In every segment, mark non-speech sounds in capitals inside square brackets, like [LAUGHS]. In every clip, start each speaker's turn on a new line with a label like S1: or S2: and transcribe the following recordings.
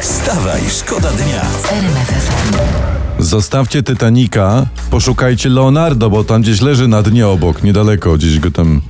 S1: Wstawaj, szkoda dnia.
S2: Zostawcie Titanica, poszukajcie Leonardo, bo tam gdzieś leży na dnie obok, niedaleko, gdzieś go tam...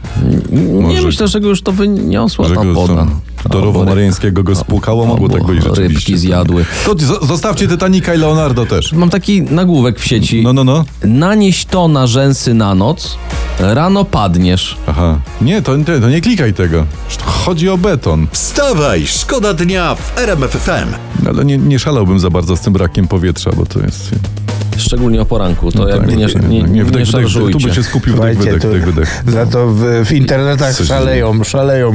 S3: Nie
S2: Może-
S3: myślę, że go już to wyniosła
S2: Że
S3: ta
S2: go
S3: woda.
S2: tam do rowu
S3: Albo ryb-
S2: maryńskiego go spłukało, mogło
S3: albo
S2: tak być rzeczywiście.
S3: Rybki zjadły.
S2: To zo- zostawcie Titanica i Leonardo też.
S3: Mam taki nagłówek w sieci.
S2: No, no, no.
S3: Nanieś to na rzęsy na noc, rano padniesz.
S2: Aha. Nie, to, to nie klikaj tego. Chodzi o beton.
S1: Wstawaj, szkoda dnia w RMF FM.
S2: Ale nie, nie szalałbym za bardzo z tym brakiem powietrza, bo to jest...
S3: Szczególnie o poranku, to
S2: tak,
S3: jakby nie, nie, nie,
S2: wdech, wdech,
S3: szarżujcie.
S2: Tu by się skupił wdech,
S4: Słuchajcie,
S2: wydech,
S4: tu-
S2: wdech, wydech.
S4: Za to w, w internetach
S2: Coś
S4: szaleją, szaleją.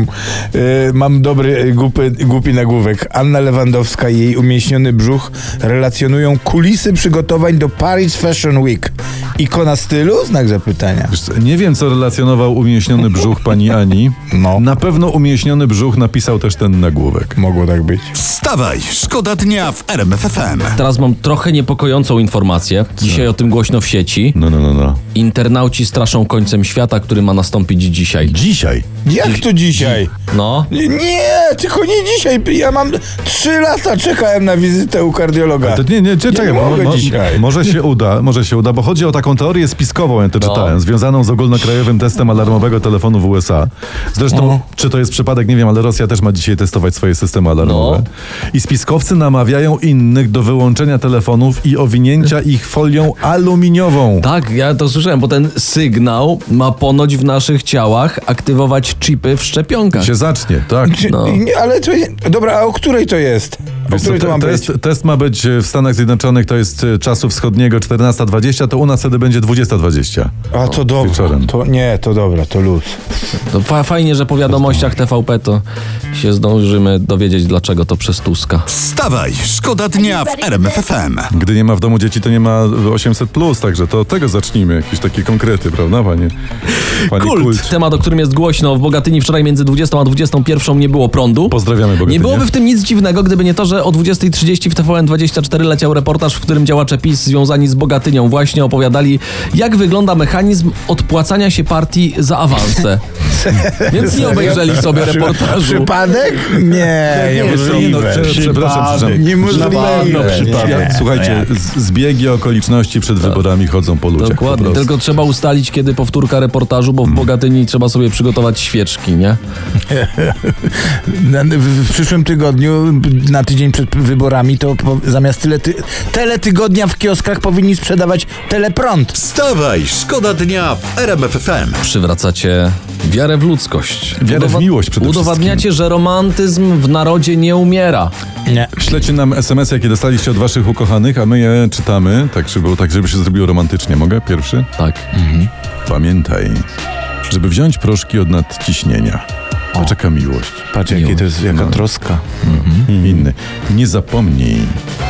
S4: Y, mam dobry, y, głupy, głupi nagłówek. Anna Lewandowska i jej umieśniony brzuch relacjonują kulisy przygotowań do Paris Fashion Week. Ikona stylu? Znak zapytania.
S2: Wiesz co, Nie wiem, co relacjonował umięśniony brzuch pani Ani.
S4: No.
S2: Na pewno umięśniony brzuch napisał też ten nagłówek.
S4: Mogło tak być.
S1: Wstawaj, szkoda dnia w RMF FM.
S3: Teraz mam trochę niepokojącą informację. Dzisiaj o tym głośno w sieci.
S2: No, no, no, no.
S3: Internauci straszą końcem świata, który ma nastąpić dzisiaj.
S2: Dzisiaj.
S4: Jak to dzisiaj?
S3: No.
S4: Nie, tylko nie dzisiaj. Ja mam trzy lata czekałem na wizytę u kardiologa.
S2: No To, nie, nie, cze-
S4: Nie
S2: czekaj, mo-
S4: mogę
S2: mo-
S4: dzisiaj.
S2: może się uda, może się uda, bo chodzi o taką teorię spiskową, ja to czytałem, związaną z ogólnokrajowym testem alarmowego telefonu w USA. Zresztą, czy to jest przypadek, nie wiem, ale Rosja też ma dzisiaj testować swoje systemy alarmowe. I spiskowcy namawiają innych do wyłączenia telefonów i owinięcia ich folią aluminiową.
S3: Tak, ja to słyszałem, bo ten sygnał ma ponoć w naszych ciałach aktywować chipy w szczepionkach.
S2: Się zacznie, tak.
S4: Czy- nie, ale to, dobra, a o której to jest? O
S2: Wiesz co,
S4: której to
S2: te-
S4: mam być?
S2: test, test ma być e, w Stanach Zjednoczonych, to jest e, czasu wschodniego 14.20, to u nas wtedy będzie 20.20.
S4: A to dobra.
S2: wieczorem.
S4: To, nie, to dobra, to luz.
S3: To fa- fajnie, że po wiadomościach TVP to się zdążymy dowiedzieć, dlaczego to przez Tuska.
S1: Wstawaj, szkoda dnia w RMF FM.
S2: Gdy nie ma w domu dzieci, to nie ma 800, plus, także to od tego zacznijmy. Jakieś takie konkrety, prawda, panie? Panie
S3: Kult. Temat, o którym jest głośno. W Bogatyni wczoraj między 20 a 21 nie było prądu.
S2: Pozdrawiamy Bogatynię.
S3: Nie byłoby w tym nic dziwnego, gdyby nie to, że o 20.30 w TVN24 leciał reportaż, w którym działacze PiS związani z Bogatynią właśnie opowiadali, jak wygląda mechanizm odpłacania się partii za
S2: [LAUGHS]
S3: awanse. Więc nie obejrzeli sobie reportażu.
S4: Przypadek? Nie,
S2: no, prze-
S4: niemożliwe.
S2: przepraszam, przepraszam.
S4: Niemożliwe.
S2: Nie,
S4: Nie.
S2: nie, Tak, Słuchajcie,
S3: No
S2: z- zbiegi okoliczności przed wyborami chodzą po ludziach.
S3: Tak. Dokładnie,
S2: po prostu.
S3: tylko trzeba ustalić, kiedy powtórka reportażu, bo w Bogatyni trzeba sobie przygotować świeczki, nie?
S4: Na- w- W przyszłym tygodniu, na tydzień przed wyborami, to po- zamiast tyle, ty, tyle tygodnia w kioskach powinni sprzedawać teleprąd.
S1: Wstawaj, szkoda dnia w RMF FM.
S3: Przywracacie wiarę w ludzkość.
S2: Wiarę w miłość przede
S3: Udowadniacie, że romantyzm w narodzie nie umiera.
S4: Nie.
S2: Śledźcie nam SMS, jakie dostaliście od waszych ukochanych, a my je czytamy, tak żeby, tak żeby się zrobiło romantycznie. Mogę? Pierwszy?
S3: Tak.
S2: Pamiętaj, żeby wziąć proszki od nadciśnienia. To czeka miłość.
S4: Patrz,
S3: jakie to jest-
S4: jaka troska.
S2: Inny. Nie zapomnij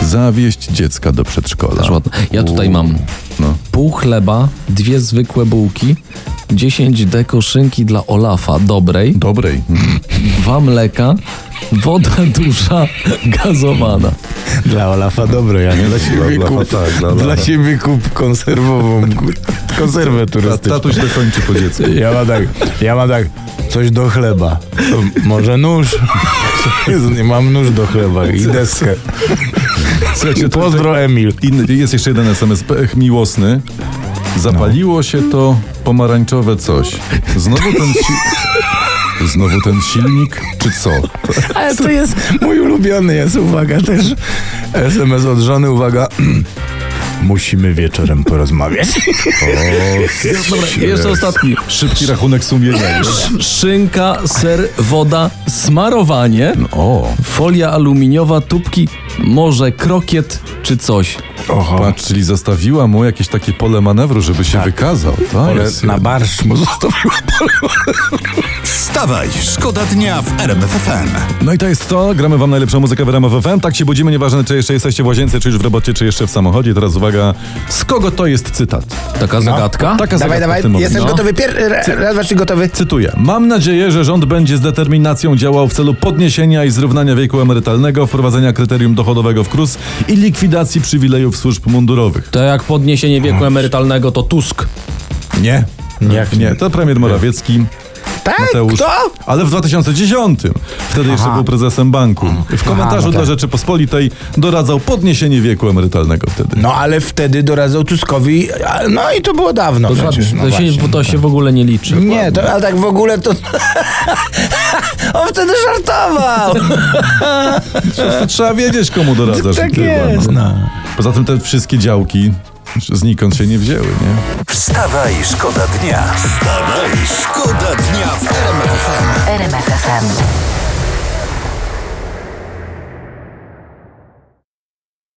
S2: zawieść dziecka do przedszkola.
S3: Też ładne. Ja tutaj mam
S2: No.
S3: pół chleba, dwie zwykłe bułki, 10 deko szynki dla Olafa dobrej,
S2: Dobrej.
S3: dwa mleka, woda [LAUGHS] duża, gazowana.
S4: Dla Olafa dobre, ja nie dla siebie
S2: Olafa,
S4: kup,
S2: tak, dla
S4: dla,
S2: Olafa.
S4: siebie kup konserwową, konserwę turystyczną.
S2: Tatuś dokończy po
S4: [LAUGHS]
S2: dziecku.
S4: Ja mam tak, ja mam tak, coś do chleba. To Może nóż? Jezu, nie mam nóż do chleba i deskę.
S2: Słuchajcie, to-
S4: Pozdro Emil.
S2: Inny, jest jeszcze jeden SMS, pech miłosny. Zapaliło się to pomarańczowe coś. Znowu ten si- Znowu ten silnik, czy co?
S4: Ale to jest mój ulubiony jest, uwaga też. SMS od żony, uwaga. Musimy wieczorem porozmawiać.
S3: Dobra, jeszcze ostatni.
S2: Szybki rachunek sumienia. już.
S3: Szynka, ser, woda, smarowanie,
S2: O,
S3: folia aluminiowa, tubki, może krokiet czy coś.
S4: Oho.
S2: patrz, czyli zostawiła mu jakieś takie pole manewru, żeby się wykazał. To
S4: Ale
S2: jest
S4: na barsz mu zostawiła.
S1: Wstawaj, szkoda dnia w RMF FM.
S2: No i to jest to, gramy wam najlepszą muzykę w RMF FM. Tak się budzimy, nieważne czy jeszcze jesteście w łazience, czy już w robocie, czy jeszcze w samochodzie. Teraz uwaga, z kogo to jest cytat?
S3: Taka zagadka?
S4: No,
S2: Taka zagadka w tym momencie. No.
S4: Pier... Raz, dwa, trzy, gotowy.
S2: Cytuję. Mam nadzieję, że rząd będzie z determinacją działał w celu podniesienia i zrównania wieku emerytalnego, wprowadzenia kryterium dochodowego w KRUS i likwidacji przywilejów służb mundurowych.
S3: To jak
S4: No.
S3: podniesienie wieku emerytalnego to Tusk.
S2: Nie.
S4: Jak nie?
S2: Nie, to premier Morawiecki.
S4: Tak?
S2: Mateusz.
S4: Kto?
S2: Ale w 2010. Wtedy jeszcze
S4: Aha.
S2: był prezesem banku. W komentarzu
S4: no tak.
S2: dla Rzeczypospolitej doradzał podniesienie wieku emerytalnego wtedy.
S4: No ale wtedy doradzał Tuskowi, a- no i to było dawno przecież. No
S3: to, się,
S4: właśnie.
S3: to się w ogóle nie liczy.
S4: Nie, to, a tak w ogóle to... [LAUGHS] On wtedy żartował!
S2: To trzeba wiedzieć, komu doradzasz.
S4: Tak
S2: i tyle,
S4: jest, no.
S2: Poza tym te wszystkie działki znikąd się nie wzięły, nie?
S1: Wstawaj, szkoda dnia. Wstawaj, szkoda dnia w RMF FM.
S5: RMFFM.